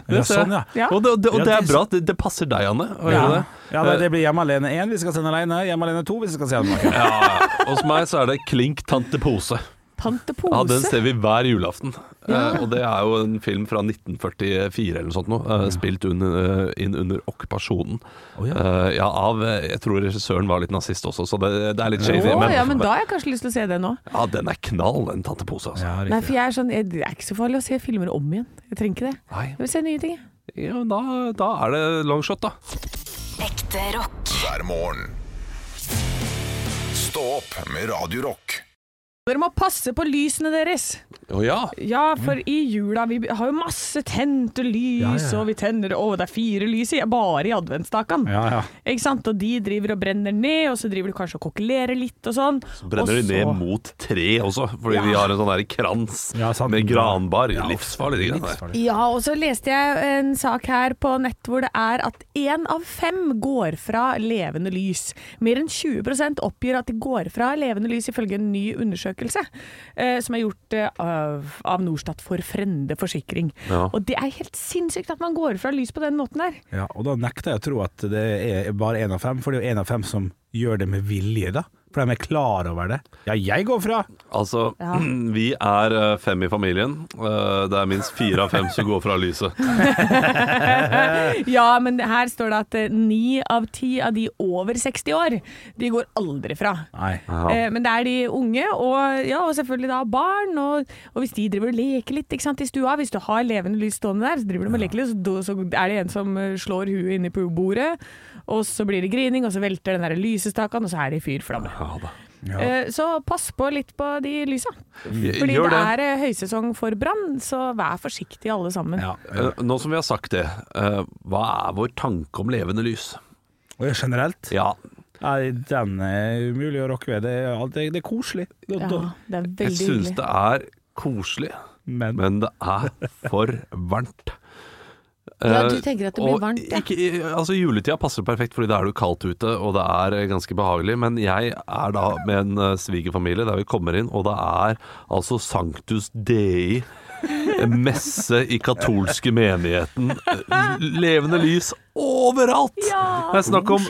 [SPEAKER 3] Det
[SPEAKER 4] Ja,
[SPEAKER 3] ser jeg.
[SPEAKER 4] sånn, ja.
[SPEAKER 2] Ja.
[SPEAKER 3] Og, det, og, det, og
[SPEAKER 4] Ja,
[SPEAKER 3] det er
[SPEAKER 4] det-
[SPEAKER 3] bra. Det, det passer deg, Anne. Å
[SPEAKER 4] Ja,
[SPEAKER 3] gjøre det.
[SPEAKER 4] ja det, det blir Hjemme alene 1 hvis vi skal se den alene. Hjemme alene 2 hvis vi skal se den alene.
[SPEAKER 3] Ja, Ah, hos meg så er det Klink tante pose.
[SPEAKER 2] Tante
[SPEAKER 3] Ja,
[SPEAKER 2] Pose.
[SPEAKER 3] Den ser vi hver julaften. Eh, og det er jo en film fra 1944 eller noe sånt noe. eh, spilt under, eh, inn under okkupasjonen. Eh, ja, av eh, Jeg tror regissøren var litt nazist også, så det, det er litt
[SPEAKER 2] Å,
[SPEAKER 3] shady. men,
[SPEAKER 2] ja, men da har jeg kanskje lyst til å se den nå.
[SPEAKER 3] ja, den er knall, den tante pose, altså.
[SPEAKER 4] Ja,
[SPEAKER 2] Nei,
[SPEAKER 4] riktig.
[SPEAKER 2] for jeg er sånn, jeg, det er ikke så farlig å se filmer om igjen. Jeg trenger ikke det.
[SPEAKER 3] Nei.
[SPEAKER 2] Jeg vil se nye ting. jeg.
[SPEAKER 3] Ja, men da, da er det longshot, da.
[SPEAKER 5] Ekte rock.
[SPEAKER 1] hver morgen. Stå opp med Radio Rock.
[SPEAKER 2] Dere må passe på lysene deres.
[SPEAKER 3] Å ja.
[SPEAKER 2] Ja, for i jula Vi har jo masse tente lys,
[SPEAKER 4] Ja, ja, ja.
[SPEAKER 2] og vi tenner Å, det er fire lys i, bare i adventsstaken.
[SPEAKER 4] Ja, ja.
[SPEAKER 2] Ikke sant? Og de driver og brenner ned, og så driver du kanskje og kokkelerer litt og sånn.
[SPEAKER 3] Brenner
[SPEAKER 2] og
[SPEAKER 3] de ned mot tre også, fordi
[SPEAKER 2] Ja.
[SPEAKER 3] vi har en sånn der krans
[SPEAKER 4] Ja, sant.
[SPEAKER 3] med granbar.
[SPEAKER 4] Ja.
[SPEAKER 3] Livsfarlig. de greiene der.
[SPEAKER 2] Ja, og så leste jeg en sak her på nett hvor det er at én av fem går fra levende lys. Mer enn 20 oppgir at de går fra levende lys, ifølge en ny undersøkelse eh, som er gjort eh, av, av Norstat for Frende forsikring.
[SPEAKER 3] Ja.
[SPEAKER 2] Og det er helt sinnssykt at man går fra lys på den måten der.
[SPEAKER 4] Ja, og da nekter jeg å tro at det er bare én av fem, for det er jo én av fem som gjør det med vilje, da. For de er klar over det. Ja, jeg går fra!
[SPEAKER 3] Altså,
[SPEAKER 2] Ja.
[SPEAKER 3] (clears throat) vi er eh, fem i familien. Eh, Det er minst fire av fem som går fra (laughs) lyset.
[SPEAKER 2] (laughs) Ja, men her står det at eh, ni av ti av de over 60 år, de går aldri fra.
[SPEAKER 4] Nei.
[SPEAKER 3] Ja.
[SPEAKER 2] Eh, Men det er de unge, og, ja, og selvfølgelig da barn. Og, og hvis de driver og leker litt ikke sant, i stua, hvis du har levende lys stående der, så driver de og leker litt, så, do- så er det en som eh, slår huet inn i på bordet. Og så blir det grining, og så velter den der lysestaken, og så er det fyrflamme.
[SPEAKER 3] Ja, da.
[SPEAKER 2] Eh, Så pass på litt på de lysa. Fordi
[SPEAKER 3] Gjør
[SPEAKER 2] det
[SPEAKER 3] det.
[SPEAKER 2] er eh, høysesong for brann, så vær forsiktig alle sammen.
[SPEAKER 4] Ja.
[SPEAKER 3] Eh, Nå som vi har sagt det, eh, hva er vår tanke om levende lys?
[SPEAKER 4] Og generelt?
[SPEAKER 3] Ja,
[SPEAKER 4] Nei, den er umulig å rokke ved. Det er, alt- det, det er koselig. Det er
[SPEAKER 2] Ja,
[SPEAKER 4] dårlig.
[SPEAKER 2] det er
[SPEAKER 3] jeg
[SPEAKER 2] veldig
[SPEAKER 3] syns
[SPEAKER 2] hyggelig.
[SPEAKER 3] det er koselig,
[SPEAKER 4] Men,
[SPEAKER 3] men det er for varmt.
[SPEAKER 2] Ja, du
[SPEAKER 3] Eh,
[SPEAKER 2] tenker at det blir
[SPEAKER 3] og
[SPEAKER 2] varmt, ja.
[SPEAKER 3] Ikke, altså Juletida passer perfekt, Fordi da er det jo kaldt ute, og det er eh, ganske behagelig. Men jeg er da med en eh, svigerfamilie der vi kommer inn, og det er altså Sanctus Dei. Messe i katolske menigheten. eh, Levende lys overalt!
[SPEAKER 2] Ja.
[SPEAKER 3] Det er snakk om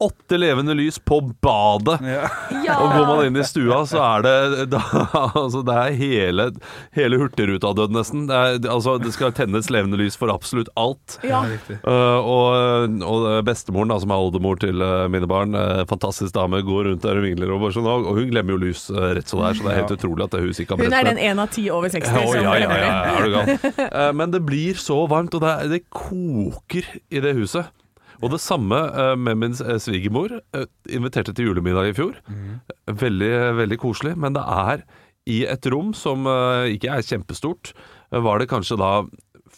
[SPEAKER 3] 48 levende lys på badet. Og går man inn i stua, så er det da, altså Det er hele, hele Hurtigruta dødd, nesten. Det, er, altså, det skal tennes levende lys for absolutt alt.
[SPEAKER 2] Ja.
[SPEAKER 3] Uh, og, og eh, bestemoren, da, som er oldemor til uh, mine barn, uh, fantastisk dame, går rundt der og vingler, og, bare sånn, og og hun glemmer jo lys uh, rett så der, så det er helt utrolig at det huset ikke har
[SPEAKER 2] Hun
[SPEAKER 3] brent
[SPEAKER 2] er
[SPEAKER 3] ned.
[SPEAKER 2] den én av ti over 60
[SPEAKER 3] Ja, å,
[SPEAKER 2] som
[SPEAKER 3] ja, ja,
[SPEAKER 2] leverer.
[SPEAKER 3] ja, ja, er du gal. Eh, Men det blir så varmt, og det, er, det koker i det huset. Og det samme eh, med min eh, svigermor. eh, Inviterte til julemiddag i fjor. Veldig, veldig koselig. Men det er i et rom som eh, ikke er kjempestort, eh, var det kanskje da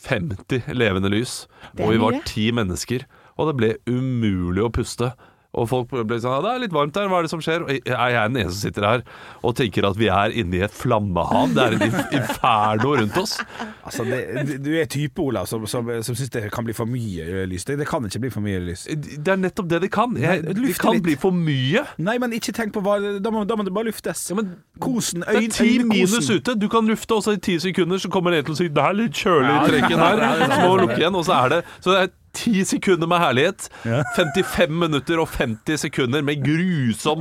[SPEAKER 3] 50 levende lys.
[SPEAKER 2] Det er
[SPEAKER 3] Og vi var
[SPEAKER 2] mye.
[SPEAKER 3] ti mennesker. Og det ble umulig å puste. Og folk ble sånn «Ja, 'Det er litt varmt her, hva er det som skjer?' Og jeg jeg er den eneste som sitter her og tenker at vi er inne i et flammehav. Det er et (laughs) inf- inferno rundt oss.
[SPEAKER 4] altså, det, du- du er type, Olav, som, som, som syns det kan bli for mye lys. Det, det kan ikke bli for mye lys.
[SPEAKER 3] Det er nettopp det de kan. Jeg,
[SPEAKER 4] Nei,
[SPEAKER 3] de
[SPEAKER 4] lufte
[SPEAKER 3] kan
[SPEAKER 4] litt.
[SPEAKER 3] bli for mye.
[SPEAKER 4] Nei, men ikke tenk på hva Da må, da må det bare luftes.
[SPEAKER 3] Ja, men
[SPEAKER 4] kosen,
[SPEAKER 3] Det
[SPEAKER 4] øyn,
[SPEAKER 3] er ti minus
[SPEAKER 4] øynekosen.
[SPEAKER 3] ute. Du kan lufte, og så i ti sekunder så kommer det en til å si 'Det er litt kjølig i trekken her'. Så må du lukke igjen, og så er det Så det er ti sekunder med herlighet. 55 minutter og 50 sekunder med grusom,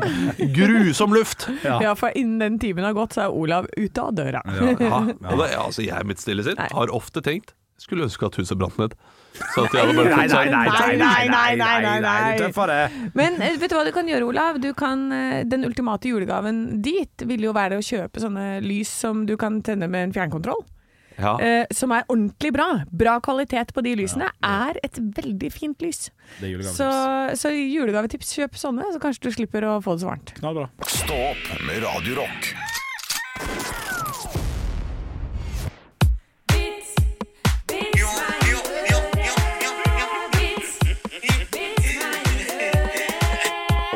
[SPEAKER 3] grusom luft.
[SPEAKER 2] Ja, for innen den timen har gått, så er Olav ute av døra.
[SPEAKER 3] Ja, (laughs)
[SPEAKER 7] (laughs)
[SPEAKER 3] og det, altså jeg i mitt stille sinn har ofte tenkt skulle ønske at huset brant ned. Så at
[SPEAKER 7] (laughs)
[SPEAKER 3] jeg hadde bare fått seg
[SPEAKER 2] Nei, nei, nei, nei, nei, nei.
[SPEAKER 4] Det er tøffere.
[SPEAKER 2] Men eh, vet du hva du kan gjøre, Olav? Du kan, eh, den ultimate julegaven dit vil jo være å kjøpe sånne lys som du kan tenne med en fjernkontroll.
[SPEAKER 3] ja.
[SPEAKER 2] Eh, som er ordentlig bra. Bra kvalitet på de lysene. Er et veldig fint lys.
[SPEAKER 4] Det er julegavetips.
[SPEAKER 2] Så, så julegavetips, kjøp sånne, så kanskje du slipper å få det så varmt.
[SPEAKER 4] Knallbra.
[SPEAKER 1] Stå opp med Radio Rock.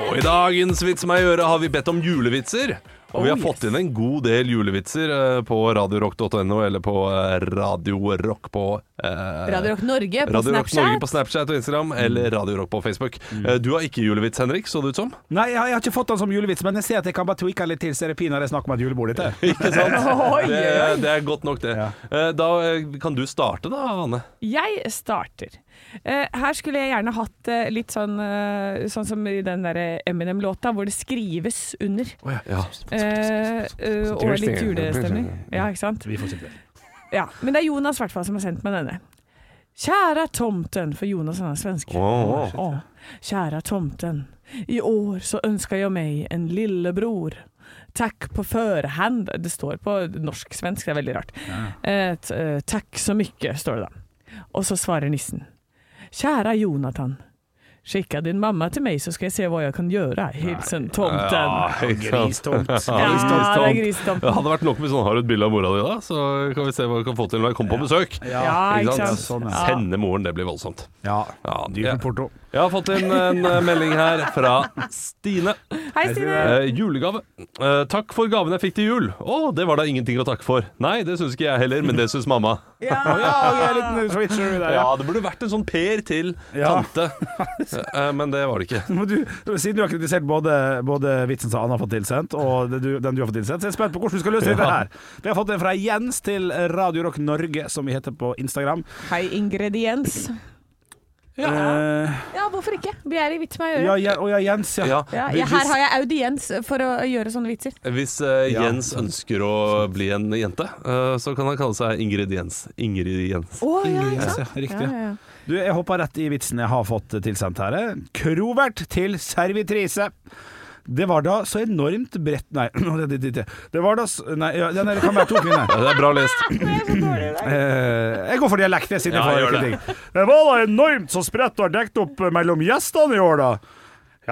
[SPEAKER 3] Og i dagens Vits meg i øret har vi bedt om julevitser. Og
[SPEAKER 7] Oh,
[SPEAKER 3] vi har fått inn en god del julevitser eh, på radiorock.no eller på eh, Radiorock på eh,
[SPEAKER 7] Radio Rock Norge på
[SPEAKER 3] Radio Rock Norge
[SPEAKER 7] Snapchat. Mm.
[SPEAKER 3] på Snapchat og Instagram, eller Radio Rock på Facebook. Eh, Du har ikke julevits, Henrik, så det ut som. (laughs)
[SPEAKER 4] Nei, jeg, har- jeg har ikke fått den som julevits, men jeg ser at jeg kan bare tweake litt til, så er det pinadø snakk om et julebord
[SPEAKER 3] (laughs)
[SPEAKER 4] litt til.
[SPEAKER 3] Ikke sant?
[SPEAKER 7] (laughs) Oi,
[SPEAKER 3] Det,
[SPEAKER 7] oi, oi.
[SPEAKER 3] det er godt nok, det.
[SPEAKER 4] Ja.
[SPEAKER 3] Eh, Da eh, kan du starte, da, Anne.
[SPEAKER 2] Jeg starter. Eh, her skulle jeg gjerne hatt eh, litt sånn eh, Sånn som i den derre Eminem-låta hvor det skrives under.
[SPEAKER 3] Ja.
[SPEAKER 2] Eh, eh, og litt julestemning. Ja, ikke sant?
[SPEAKER 4] Vi får se til.
[SPEAKER 2] Ja, men det er Jonas hvertfall som har sendt meg denne. Kjære tomten, for Jonas han er svensk.
[SPEAKER 3] Åh.
[SPEAKER 2] Åh, kjære tomten, i år så ønsker jeg meg en lillebror. Takk på förhand. Det står på norsk-svensk, det er veldig rart. Eh, t- eh, takk så mye, står det da. Og så svarer nissen. Kjære Jonathan, skicka din mamma til meg så skal jeg se hva jeg kan gjøre. Hilsen
[SPEAKER 3] Ja,
[SPEAKER 2] tomten.
[SPEAKER 3] ikke sant?
[SPEAKER 4] Gristomt.
[SPEAKER 2] Ja, det er
[SPEAKER 3] Det
[SPEAKER 2] gristomten.
[SPEAKER 3] hadde vært nok med sånn Har du et bilde av mora di, da? Så kan vi se hva vi kan få til når jeg kommer på besøk.
[SPEAKER 2] Ja, ikke sant?
[SPEAKER 4] sånn,
[SPEAKER 2] Ja.
[SPEAKER 3] Sende moren, det blir voldsomt.
[SPEAKER 4] Ja.
[SPEAKER 3] Ja,
[SPEAKER 4] Dyr
[SPEAKER 3] jeg,
[SPEAKER 4] med porto.
[SPEAKER 3] jeg har fått inn en eh, melding her fra Stine.
[SPEAKER 2] Hei, Stine.
[SPEAKER 3] Eh, julegave. Eh, takk for gaven jeg fikk til jul. Å, det var da ingenting å takke for. Nei, det syns ikke jeg heller, men det syns mamma.
[SPEAKER 4] Ja, vi er litt switcheroo der, ja.
[SPEAKER 3] Ja, det burde vært en sånn Per til
[SPEAKER 4] Ja.
[SPEAKER 3] tante, Eh, men det var det ikke.
[SPEAKER 4] Men Du, siden du har kritisert både, både vitsen som Anne har fått tilsendt, og det du, den du har fått tilsendt, så er jeg spent på hvordan du skal løse dette her. Vi har fått en fra Jens til Radio Rock Norge, som vi heter på Instagram.
[SPEAKER 2] Hei, ingrediens.
[SPEAKER 4] Ja,
[SPEAKER 2] Eh, Ja, hvorfor ikke? Vi er i vits med å
[SPEAKER 4] Eh, ja,
[SPEAKER 2] gjøre.
[SPEAKER 4] ja, å ja Jens, ja.
[SPEAKER 3] Ja,
[SPEAKER 2] Ja,
[SPEAKER 3] vi-
[SPEAKER 2] ja, her har jeg audiens for å gjøre sånne vitser.
[SPEAKER 3] Hvis eh,
[SPEAKER 4] Ja,
[SPEAKER 3] Jens ønsker å bli en jente, eh, så kan han kalle seg Ingrediens. Ingrediens.
[SPEAKER 2] Å ja, ikke
[SPEAKER 4] Jens,
[SPEAKER 2] sant?
[SPEAKER 4] ja. Riktig.
[SPEAKER 2] Ja, ja, ja.
[SPEAKER 4] Du, jeg hoppa rett i vitsen jeg har fått tilsendt her. eh. Krovert til servitrise. Det var da så enormt bredt Nei, (clears throat) det, det, det, det. det var da s- Nei, ja, ja, nei, det kan være to kvinner.
[SPEAKER 3] Ja, det er bra lest.
[SPEAKER 4] Eh, jeg går for dialekt, jeg, siden
[SPEAKER 3] Ja,
[SPEAKER 4] jeg får
[SPEAKER 3] gjør det.
[SPEAKER 4] kritikk. Det var da enormt så spredt og dekt opp mellom gjestene i år, da.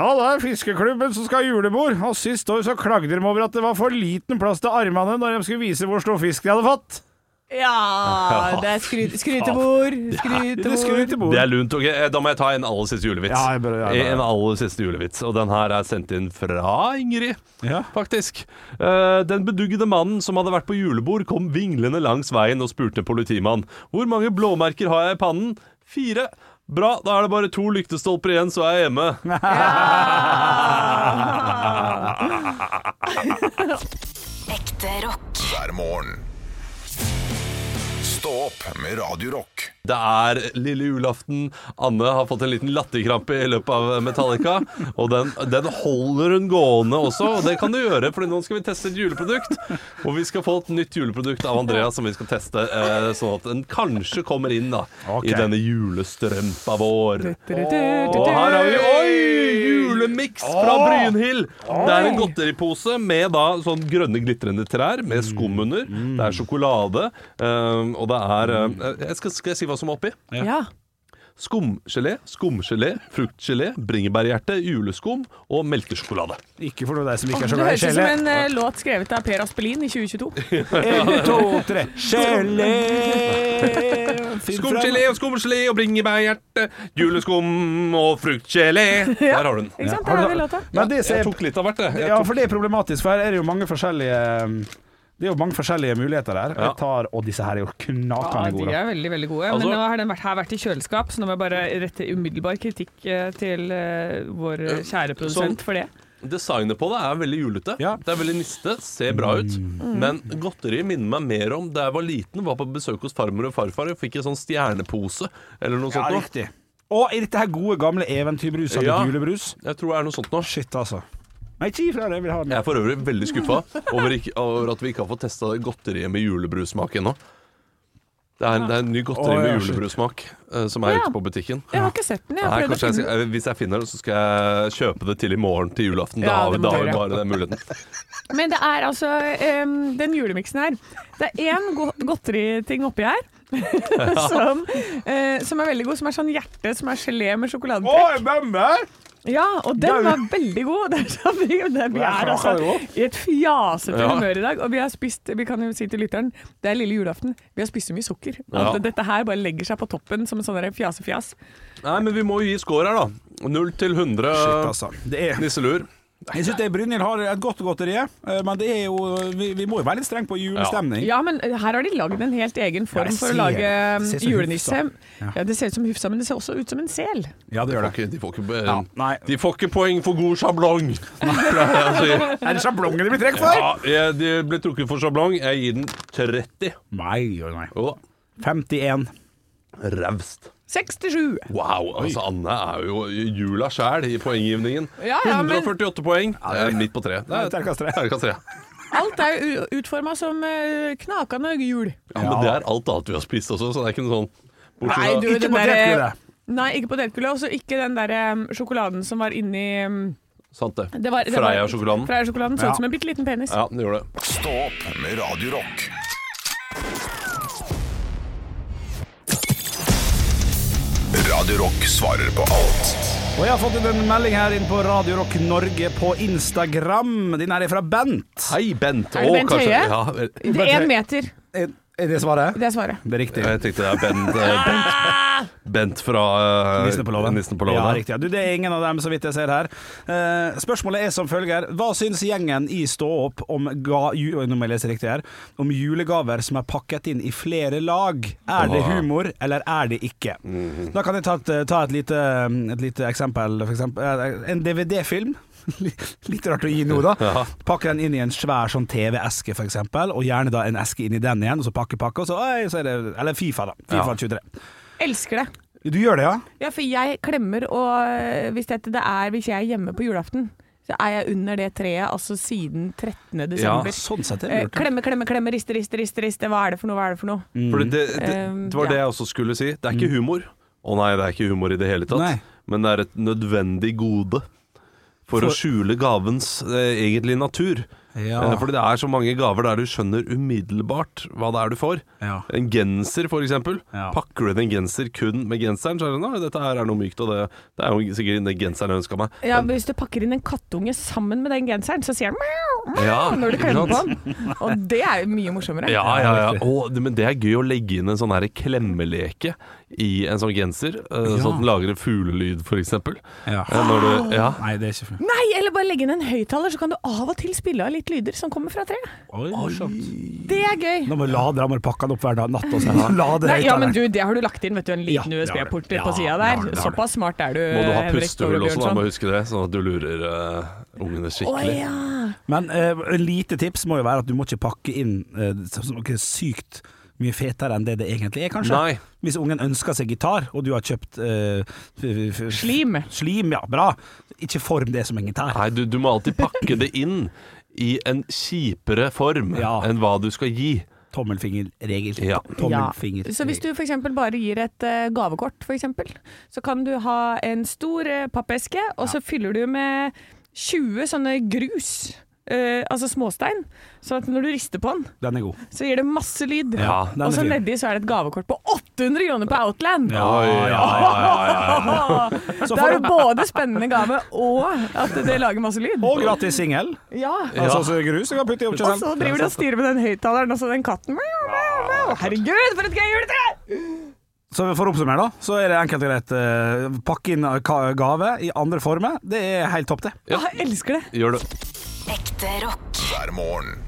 [SPEAKER 4] Ja, det er fiskeklubben som skal ha julebord, og sist år så klagde de over at det var for liten plass til armene når de skulle vise hvor stor fisk de hadde fått.
[SPEAKER 7] Ja, det er skryt, skrytebord.
[SPEAKER 4] Det skulle
[SPEAKER 7] Skrytebord.
[SPEAKER 4] til
[SPEAKER 3] Det
[SPEAKER 4] bord.
[SPEAKER 3] er lunt. Ok, eh, da må jeg ta en aller siste julevits. Eh,
[SPEAKER 4] Ja, jeg bør- ja, ja, ja.
[SPEAKER 3] En aller siste julevits, og den her er sendt inn fra Ingrid.
[SPEAKER 4] Ja.
[SPEAKER 3] faktisk. Eh, den beduggede mannen som hadde vært på julebord, kom vinglende langs veien og spurte politimannen. Hvor mange blåmerker har jeg i pannen? Fire. Bra, da er det bare to lyktestolper igjen, så er jeg hjemme.
[SPEAKER 5] Ekte rock.
[SPEAKER 1] hver morgen. Stå opp med Radio Rock.
[SPEAKER 3] Det er lille julaften. Anne har fått en liten latterkrampe i løpet av Metallica. Og den, den holder hun gående også, og det kan du gjøre, for nå skal vi teste et juleprodukt. Og vi skal få et nytt juleprodukt av Andreas som vi skal teste, eh, sånn at den kanskje kommer inn da
[SPEAKER 4] Ok.
[SPEAKER 3] i denne julestrømpa vår. Og
[SPEAKER 2] Du-du-du-du-du.
[SPEAKER 3] her har vi Oi! Julemiks fra Brynhild. Det er en godteripose med da sånn grønne glitrende trær med skum under. Det er sjokolade, eh, og det er eh, jeg skal, skal jeg si hva som er oppi?
[SPEAKER 2] Ja.
[SPEAKER 3] Skumgelé, skumgelé, fruktgelé, bringebærhjerte, juleskum og melkesjokolade.
[SPEAKER 4] Ikke for noe deg som ikke
[SPEAKER 2] Du
[SPEAKER 4] er så glad i
[SPEAKER 2] høres ut som
[SPEAKER 4] gelé.
[SPEAKER 2] en eh, låt skrevet av Per Aspelin i 2022.
[SPEAKER 4] En, to, tre. Gelé! Finn fram.
[SPEAKER 3] Skumgelé og skumgelé og bringebærhjerte, juleskum og
[SPEAKER 4] (laughs)
[SPEAKER 3] fruktgelé. Der har du den.
[SPEAKER 2] Ikke sant?
[SPEAKER 4] Har
[SPEAKER 2] Der
[SPEAKER 4] du-
[SPEAKER 2] har vi låta.
[SPEAKER 4] Men det som
[SPEAKER 3] Jeg
[SPEAKER 4] er
[SPEAKER 3] tok litt av hvert, jeg. jeg.
[SPEAKER 4] Ja,
[SPEAKER 3] Tok,
[SPEAKER 4] for det er problematisk, for her er det jo mange forskjellige Det er jo mange forskjellige muligheter der.
[SPEAKER 3] Ja.
[SPEAKER 4] Jeg tar, og disse her er jo
[SPEAKER 2] Ja,
[SPEAKER 4] knakende
[SPEAKER 2] de
[SPEAKER 4] gode.
[SPEAKER 2] er veldig veldig gode.
[SPEAKER 3] Altså-
[SPEAKER 2] men nå har den vært, her vært i kjøleskap, så nå må jeg bare rette umiddelbar kritikk eh, til eh, vår eh, kjære
[SPEAKER 3] sånn.
[SPEAKER 2] produsent for det.
[SPEAKER 3] designet på det er veldig julete.
[SPEAKER 4] Ja. Mm.
[SPEAKER 3] Det er veldig niste, ser bra ut. Men godteri minner meg mer om da jeg var liten, var på besøk hos farmor og farfar og fikk en sånn stjernepose eller noe
[SPEAKER 4] Ja,
[SPEAKER 3] sånt noe.
[SPEAKER 4] riktig. Og er dette her gode, gamle eventyrbrus eller
[SPEAKER 3] Ja.
[SPEAKER 4] julebrus?
[SPEAKER 3] Jeg tror det er noe sånt noe.
[SPEAKER 4] Shit, altså. Nei, ikke ifra det. Jeg vil ha den.
[SPEAKER 3] Jeg er for øvrig veldig skuffa over, ikke- over at vi ikke har fått testa godteriet med julebrussmak ennå. Det er, det er en ny godteri
[SPEAKER 4] Å, ja,
[SPEAKER 3] med
[SPEAKER 4] shit.
[SPEAKER 3] julebrussmak eh, som er
[SPEAKER 2] Ja.
[SPEAKER 3] ute på butikken.
[SPEAKER 2] Jeg har ikke sett den, jeg.
[SPEAKER 3] Nei,
[SPEAKER 2] har prøvd å
[SPEAKER 3] kanskje jeg
[SPEAKER 2] finne den.
[SPEAKER 3] skal, eh, hvis jeg finner det, så skal jeg kjøpe det til i morgen til julaften. Da
[SPEAKER 2] Ja,
[SPEAKER 3] har vi,
[SPEAKER 2] det må
[SPEAKER 3] da
[SPEAKER 2] du
[SPEAKER 3] har vi
[SPEAKER 2] gjøre.
[SPEAKER 3] bare den muligheten.
[SPEAKER 2] Men det er altså em, den julemiksen her. Det er én go godteriting oppi
[SPEAKER 3] (laughs)
[SPEAKER 2] her. (laughs) som, eh, som er veldig god. Som er sånn hjerte som er gelé med sjokoladetrekk.
[SPEAKER 4] bømmer!
[SPEAKER 2] Ja, og
[SPEAKER 4] det er
[SPEAKER 2] den
[SPEAKER 4] jo-
[SPEAKER 2] var veldig god. (laughs) Det er sånn, vi, det, vi
[SPEAKER 4] Ja,
[SPEAKER 2] er altså
[SPEAKER 4] jo.
[SPEAKER 2] i et fjasete
[SPEAKER 3] Ja.
[SPEAKER 2] humør i dag. Og vi har spist, vi kan jo si til lytteren, det er lille julaften. Vi har spist så mye sukker.
[SPEAKER 3] Ja.
[SPEAKER 2] At dette her bare legger seg på toppen som en sånn der fjasefjas.
[SPEAKER 3] Nei, men vi må jo gi score her, da. Null til 100.
[SPEAKER 4] Shit, altså. Det er
[SPEAKER 3] Nisselur.
[SPEAKER 4] Jeg syns Brynhild har et godt godteri, eh, men det er jo, vi, vi må jo være litt strenge på julestemning.
[SPEAKER 2] Ja, men her har de lagd en helt egen
[SPEAKER 4] Ja,
[SPEAKER 2] form
[SPEAKER 4] jeg
[SPEAKER 2] for
[SPEAKER 4] ser
[SPEAKER 2] å lage um,
[SPEAKER 4] det. Det ser så
[SPEAKER 2] julenisse.
[SPEAKER 4] hufsa. Ja.
[SPEAKER 2] Ja, det ser ut som Hufsa, men det ser også ut som en sel.
[SPEAKER 4] Ja, det gjør det.
[SPEAKER 3] Ok, de, får ikke,
[SPEAKER 4] Ja, nei.
[SPEAKER 3] de får ikke poeng for god sjablong. (laughs) Altså,
[SPEAKER 4] Er det sjablongen de blir trukket for?
[SPEAKER 3] ja, jeg- de ble trukket for sjablong. Jeg gir den 30.
[SPEAKER 4] Nei, oi, nei.
[SPEAKER 3] Jo da.
[SPEAKER 4] 51.
[SPEAKER 3] Raust.
[SPEAKER 2] 67!
[SPEAKER 3] Wow. altså Anne er jo jula sjæl i poenggivningen.
[SPEAKER 2] Ja, ja, men-
[SPEAKER 3] 148 poeng. Det er midt på treet. Det er
[SPEAKER 4] Terningkast tre.
[SPEAKER 3] terningkast tre.
[SPEAKER 2] Alt er jo utforma som eh, knakende jul.
[SPEAKER 3] Ja, men det er alt annet vi har spist også, så det er ikke noe sånn bortsett
[SPEAKER 2] Nei,
[SPEAKER 3] fra-
[SPEAKER 2] du,
[SPEAKER 4] Ikke
[SPEAKER 2] den
[SPEAKER 4] potetgullet.
[SPEAKER 2] derre- Nei, ikke potetgullet. Og så ikke den der eh, sjokoladen som var inni eh,
[SPEAKER 3] Sant det.
[SPEAKER 2] det var- det var-
[SPEAKER 3] Freia-sjokoladen.
[SPEAKER 2] Freia-sjokoladen så
[SPEAKER 4] Ja.
[SPEAKER 2] ut som en bitte liten penis.
[SPEAKER 3] Ja, det gjorde det.
[SPEAKER 1] Stå opp med Radio Rock. Radio Rock svarer på alt.
[SPEAKER 4] Og jeg har fått inn en melding her inn på Radio Rock Norge på Instagram. Den her er fra Bent.
[SPEAKER 3] Hei, Bent.
[SPEAKER 2] Er det
[SPEAKER 3] Å,
[SPEAKER 2] Bent
[SPEAKER 3] kanskje-
[SPEAKER 2] Høie?
[SPEAKER 3] Ja, vel,
[SPEAKER 2] Det er én meter,
[SPEAKER 4] Er er det svaret?
[SPEAKER 2] det er svaret.
[SPEAKER 4] Det er riktig.
[SPEAKER 3] jeg tenkte det er Bent, eh, Bent, Bent fra eh,
[SPEAKER 4] Nissen på låven.
[SPEAKER 3] Nissen på låven.
[SPEAKER 4] Ja, riktig. Ja. Du, det er ingen av dem, så vidt jeg ser her. Eh, spørsmålet er som følger. Hva syns gjengen i Stå opp om, ga, ju, Oi, nå må jeg lese riktig her, om julegaver som er pakket inn i flere lag? Er det humor, eller er det ikke?
[SPEAKER 3] Mhm.
[SPEAKER 4] Da kan jeg ta et, ta et, lite, et lite eksempel. For eksempel eh, en DVD-film. (laughs) Litt rart å gi nå, da. Pakke den inn i en svær sånn TV-eske, f.eks., og gjerne da en eske inni den igjen, og så pakke, pakke, og så, oi, så er det Eller Fifa, da. Fifa 23.
[SPEAKER 2] Elsker det.
[SPEAKER 4] Du gjør det, ja?
[SPEAKER 2] Ja, for jeg klemmer, og eh, hvis, dette det er, hvis jeg er hjemme på julaften, så er jeg under det treet altså siden 13.
[SPEAKER 3] Ah.
[SPEAKER 2] desember.
[SPEAKER 4] Sånn sett er det
[SPEAKER 2] Eh,
[SPEAKER 4] lurt.
[SPEAKER 2] klemme, klemme, klemme, riste, riste, riste, riste. Hva er det for noe, hva er det for noe?
[SPEAKER 4] Mm.
[SPEAKER 3] Fordi det, det,
[SPEAKER 2] Um,
[SPEAKER 3] det var
[SPEAKER 2] ja.
[SPEAKER 3] det jeg også skulle si. Det er ikke humor. Å nei, det er ikke humor i det hele tatt.
[SPEAKER 4] Nei.
[SPEAKER 3] Men det er et nødvendig gode for,
[SPEAKER 4] For-
[SPEAKER 3] å skjule gavens eh, egentlige natur.
[SPEAKER 4] Ja.
[SPEAKER 3] Eh, fordi det er så mange gaver der du skjønner umiddelbart hva det er du får.
[SPEAKER 4] Ja.
[SPEAKER 3] En genser, for eksempel.
[SPEAKER 4] Ja.
[SPEAKER 3] Pakker du inn en genser kun med genseren, så er det sånn «Nei, dette her er noe mykt, og det, det er jo sikkert den genseren jeg ønska meg.
[SPEAKER 2] Ja, men Hvis du pakker inn en kattunge sammen med den genseren, så sier den mjau, mjau
[SPEAKER 3] Ja,
[SPEAKER 2] når du
[SPEAKER 3] ikke
[SPEAKER 2] klemmer på
[SPEAKER 3] sant?
[SPEAKER 2] den. Og det er jo mye morsommere.
[SPEAKER 3] Ja, ja, ja. Å, det, men det er gøy å legge inn en sånn her klemmeleke i en sånn genser, eh, sånn at den lager en fuglelyd, for eksempel.
[SPEAKER 4] Ja.
[SPEAKER 3] Eh, Når du, ja.
[SPEAKER 4] Nei, det er ikke fint.
[SPEAKER 2] Nei, eller bare legge inn en høyttaler, så kan du av og til spille av litt lyder som kommer fra treet.
[SPEAKER 4] Oi,
[SPEAKER 2] Ah.
[SPEAKER 4] morsomt.
[SPEAKER 2] Det er gøy.
[SPEAKER 4] Nå må du lade, da må du pakke den opp hver dag natt og sånn. (laughs) Lade
[SPEAKER 2] Nei, ja,
[SPEAKER 4] høyttaleren.
[SPEAKER 2] men du, det har du lagt inn, vet du. En
[SPEAKER 4] Ja,
[SPEAKER 2] liten
[SPEAKER 4] det har du.
[SPEAKER 2] USB-port
[SPEAKER 4] Ja,
[SPEAKER 2] på sida
[SPEAKER 4] det har du,
[SPEAKER 2] der.
[SPEAKER 4] det har du.
[SPEAKER 2] såpass smart er du,
[SPEAKER 3] Må du ha
[SPEAKER 2] Henrik
[SPEAKER 3] pustehull
[SPEAKER 2] Ståle
[SPEAKER 3] også,
[SPEAKER 2] Eh,
[SPEAKER 3] da må
[SPEAKER 2] Bjørnson.
[SPEAKER 3] du huske det, sånn at du lurer eh,
[SPEAKER 2] Å
[SPEAKER 3] ungene skikkelig.
[SPEAKER 2] ja.
[SPEAKER 4] Men eh, lite tips må jo være at du må ikke pakke inn eh, så- så noe sykt mye fetere enn det det egentlig er, kanskje.
[SPEAKER 3] Nei.
[SPEAKER 4] Hvis ungen ønsker seg gitar, og du har kjøpt eh, f- f- f-
[SPEAKER 2] Slim.
[SPEAKER 4] Slim, ja, bra. Ikke form det som en gitar.
[SPEAKER 3] Nei, du, du må alltid pakke det inn i en kjipere form
[SPEAKER 4] Ja.
[SPEAKER 3] enn hva du skal gi.
[SPEAKER 4] Tommelfingerregel.
[SPEAKER 3] Ja.
[SPEAKER 4] Tommelfinger.
[SPEAKER 2] Så hvis du f.eks. bare gir et eh, gavekort, for eksempel, så kan du ha en stor eh, pappeske, og så fyller du med 20 sånne grus. eh, altså småstein. Så at når du rister på den,
[SPEAKER 4] Den er god.
[SPEAKER 2] så gir det masse lyd.
[SPEAKER 4] Ja, den er
[SPEAKER 2] og så
[SPEAKER 4] fin.
[SPEAKER 2] nedi så er det et gavekort på 800 kroner på Outland!
[SPEAKER 4] ja, (laughs)
[SPEAKER 2] Da er det både spennende gave og at det lager masse lyd.
[SPEAKER 4] Og gratis singel.
[SPEAKER 2] Ja.
[SPEAKER 4] Altså, så grus du kan putte i opp
[SPEAKER 2] Og
[SPEAKER 4] kjøselen.
[SPEAKER 2] så driver de og styrer med den høyttaleren og så den katten. Miau, miau, miau. Herregud, for et gøy juletre!
[SPEAKER 4] Så for å oppsummere, da, så er det enkelt og greit. eh, Pakke inn ka- gave i andre former. Det er helt topp, det.
[SPEAKER 3] Ja.
[SPEAKER 2] Å, Jeg elsker det.
[SPEAKER 3] Gjør det.
[SPEAKER 5] Ekte rock.
[SPEAKER 1] hver morgen.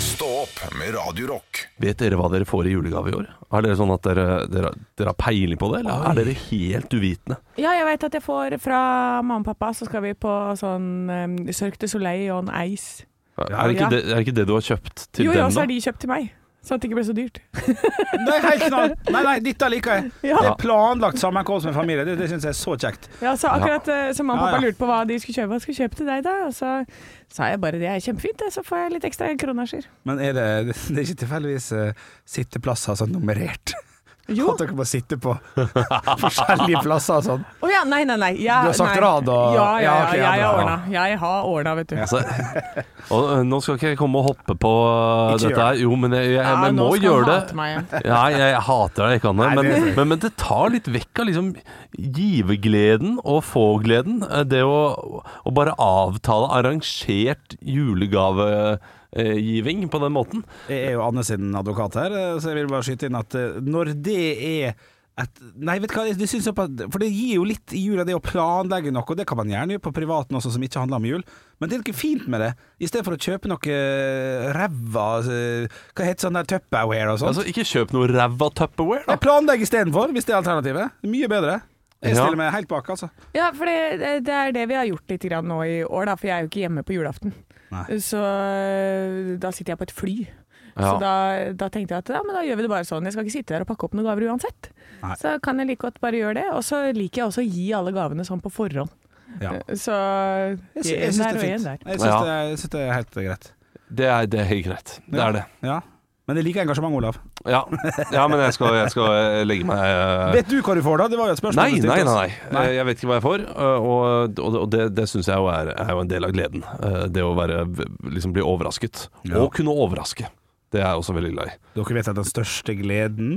[SPEAKER 1] Stå opp med Radio Rock.
[SPEAKER 3] Vet dere hva dere får i julegave i år? Er dere sånn at dere, dere, dere har peiling på det, eller er dere helt uvitende?
[SPEAKER 2] Ja, jeg veit at jeg får fra mamma og pappa, så skal vi på sånn um, Cirque du Soleil on ice.
[SPEAKER 3] Er det,
[SPEAKER 2] Ja.
[SPEAKER 3] ikke det, er det ikke det du har kjøpt til
[SPEAKER 2] Jo,
[SPEAKER 3] dem,
[SPEAKER 2] ja,
[SPEAKER 3] da?
[SPEAKER 2] så har de kjøpt til meg. Sånn at det ikke ble så dyrt.
[SPEAKER 4] Det er helt knall. Nei, nei, dette liker jeg.
[SPEAKER 2] Ja.
[SPEAKER 4] Det er planlagt sammenkomst med familie. Det, det syns jeg er så kjekt.
[SPEAKER 2] Ja, så akkurat eh, så mamma og
[SPEAKER 4] Ja,
[SPEAKER 2] pappa
[SPEAKER 4] ja.
[SPEAKER 2] lurte på hva de skulle kjøpe. Hva skal jeg kjøpe til deg, da? Og så sa jeg bare det er kjempefint, det, så får jeg litt ekstra kronasjer.
[SPEAKER 4] Men er det, det er ikke tilfeldigvis eh, sitteplasser sånn nummerert?
[SPEAKER 2] Jo.
[SPEAKER 4] At dere må sitte på (laughs) forskjellige plasser og sånn.
[SPEAKER 2] Å ja, nei, nei, nei. Jeg,
[SPEAKER 4] Du har sagt
[SPEAKER 2] nei.
[SPEAKER 4] rad og-
[SPEAKER 2] Ja, ja,
[SPEAKER 4] Ja,
[SPEAKER 2] ja,
[SPEAKER 4] ok, ja,
[SPEAKER 2] jeg har
[SPEAKER 4] bra.
[SPEAKER 2] ordna. Jeg har ordna, vet du.
[SPEAKER 3] Altså, og, ø, nå skal ikke jeg komme og hoppe på ø,
[SPEAKER 4] Ikke gjør
[SPEAKER 3] dette her, jo, men jeg, jeg, men jeg må
[SPEAKER 2] nå skal han
[SPEAKER 3] gjøre
[SPEAKER 2] hate
[SPEAKER 3] det.
[SPEAKER 2] meg.
[SPEAKER 3] Nei, jeg, jeg hater deg ikke, Anne,
[SPEAKER 4] Nei,
[SPEAKER 3] men,
[SPEAKER 4] det-
[SPEAKER 3] men, men det tar litt vekk av liksom givergleden og få-gleden. ø, Det å, å bare avtale arrangert julegavegiving på den måten.
[SPEAKER 4] Jeg er jo Anne sin advokat her, eh, så jeg vil bare skyte inn at eh, når det er et, Nei, vet du hva, det syns jeg på, For det gir jo litt i jula, det å planlegge noe, og det kan man gjerne gjøre på privaten også, som ikke handler om jul. Men det er noe fint med det. I stedet for å kjøpe noe ræva eh, Hva heter sånn der Tupperware og sånt.
[SPEAKER 3] Altså, ikke kjøp noe ræva Tupperware, da.
[SPEAKER 4] jeg planlegger istedenfor, hvis det er alternativet. Mye bedre. Jeg
[SPEAKER 3] Ja.
[SPEAKER 4] stiller meg helt bak, altså.
[SPEAKER 2] Ja, for det, det er det vi har gjort litt grann nå i år, da, for jeg er jo ikke hjemme på julaften.
[SPEAKER 4] Nei.
[SPEAKER 2] Så øh, da sitter jeg på et fly. Så
[SPEAKER 3] Ja.
[SPEAKER 2] da, da tenkte jeg at ja, men da gjør vi det bare sånn. Jeg skal ikke sitte der og pakke opp noen gaver uansett.
[SPEAKER 4] Nei.
[SPEAKER 2] Så kan jeg like godt bare gjøre det. Og så liker jeg også å gi alle gavene sånn på forhånd.
[SPEAKER 4] Ja.
[SPEAKER 2] Så
[SPEAKER 4] Jeg, sy- jeg syns Eh, det er fint.
[SPEAKER 2] der.
[SPEAKER 4] Jeg syns
[SPEAKER 3] Ja.
[SPEAKER 4] det, er- jeg syns det er helt greit.
[SPEAKER 3] Det er, det er helt greit. Det er det.
[SPEAKER 4] Ja. Men jeg liker engasjement, Olav.
[SPEAKER 3] Ja, ja men jeg skal, jeg skal eh, legge meg eh,
[SPEAKER 4] Vet du hva du får, da? Det var jo et spørsmål.
[SPEAKER 3] Nei,
[SPEAKER 4] du stilte
[SPEAKER 3] nei, nei,
[SPEAKER 4] oss.
[SPEAKER 3] nei. Eh, Jeg vet ikke hva jeg får, eh, og, og og det, det syns jeg jo er, er jo en del av gleden. Eh, Det å være, liksom bli overrasket.
[SPEAKER 4] Ja.
[SPEAKER 3] Og kunne overraske. Det er jeg også veldig glad i.
[SPEAKER 4] Dere vet at den største gleden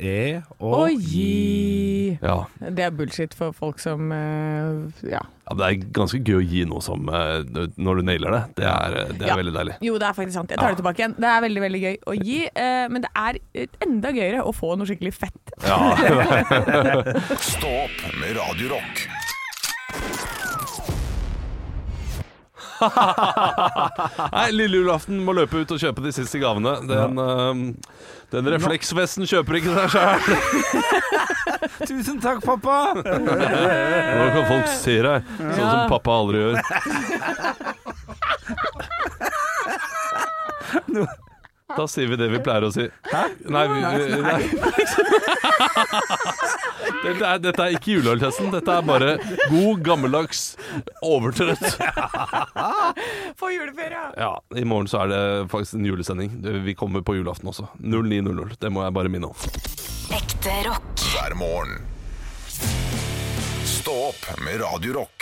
[SPEAKER 4] er
[SPEAKER 2] Å
[SPEAKER 4] å
[SPEAKER 2] gi
[SPEAKER 3] Ja.
[SPEAKER 2] Det er bullshit for folk som øh, Ja.
[SPEAKER 3] Ja, men det er ganske gøy å gi noe som eh, Når du nailer det. Det er, eh, det er
[SPEAKER 2] Ja.
[SPEAKER 3] veldig deilig.
[SPEAKER 2] (laughs) Jo, det er faktisk sant. Jeg tar det tilbake igjen. Det er veldig veldig gøy å gi, eh, men det er enda gøyere å få noe skikkelig fett.
[SPEAKER 3] Ja.
[SPEAKER 1] Stå opp med Radio Rock.
[SPEAKER 3] Nei, lille julaften må løpe ut og kjøpe de siste gavene. Den, eh, den refleksvesten kjøper ikke seg sjøl.
[SPEAKER 4] (laughs) Tusen takk, pappa!
[SPEAKER 3] Nå kan folk se deg, sånn som
[SPEAKER 2] Ja.
[SPEAKER 3] pappa aldri gjør. Da sier vi det vi pleier å si. Hæ? Nei, vi, vi, nei. (laughs) dette, er, dette er ikke juleøltesten. Dette er bare god, gammeldags overtrøtt.
[SPEAKER 2] Få juleferie!
[SPEAKER 3] Ja, I morgen så er det faktisk en julesending. Det- Vi kommer på julaften også. 09.00. Det må jeg bare minne om.
[SPEAKER 5] Ekte rock.
[SPEAKER 1] hver morgen. Stå opp med Radio Rock.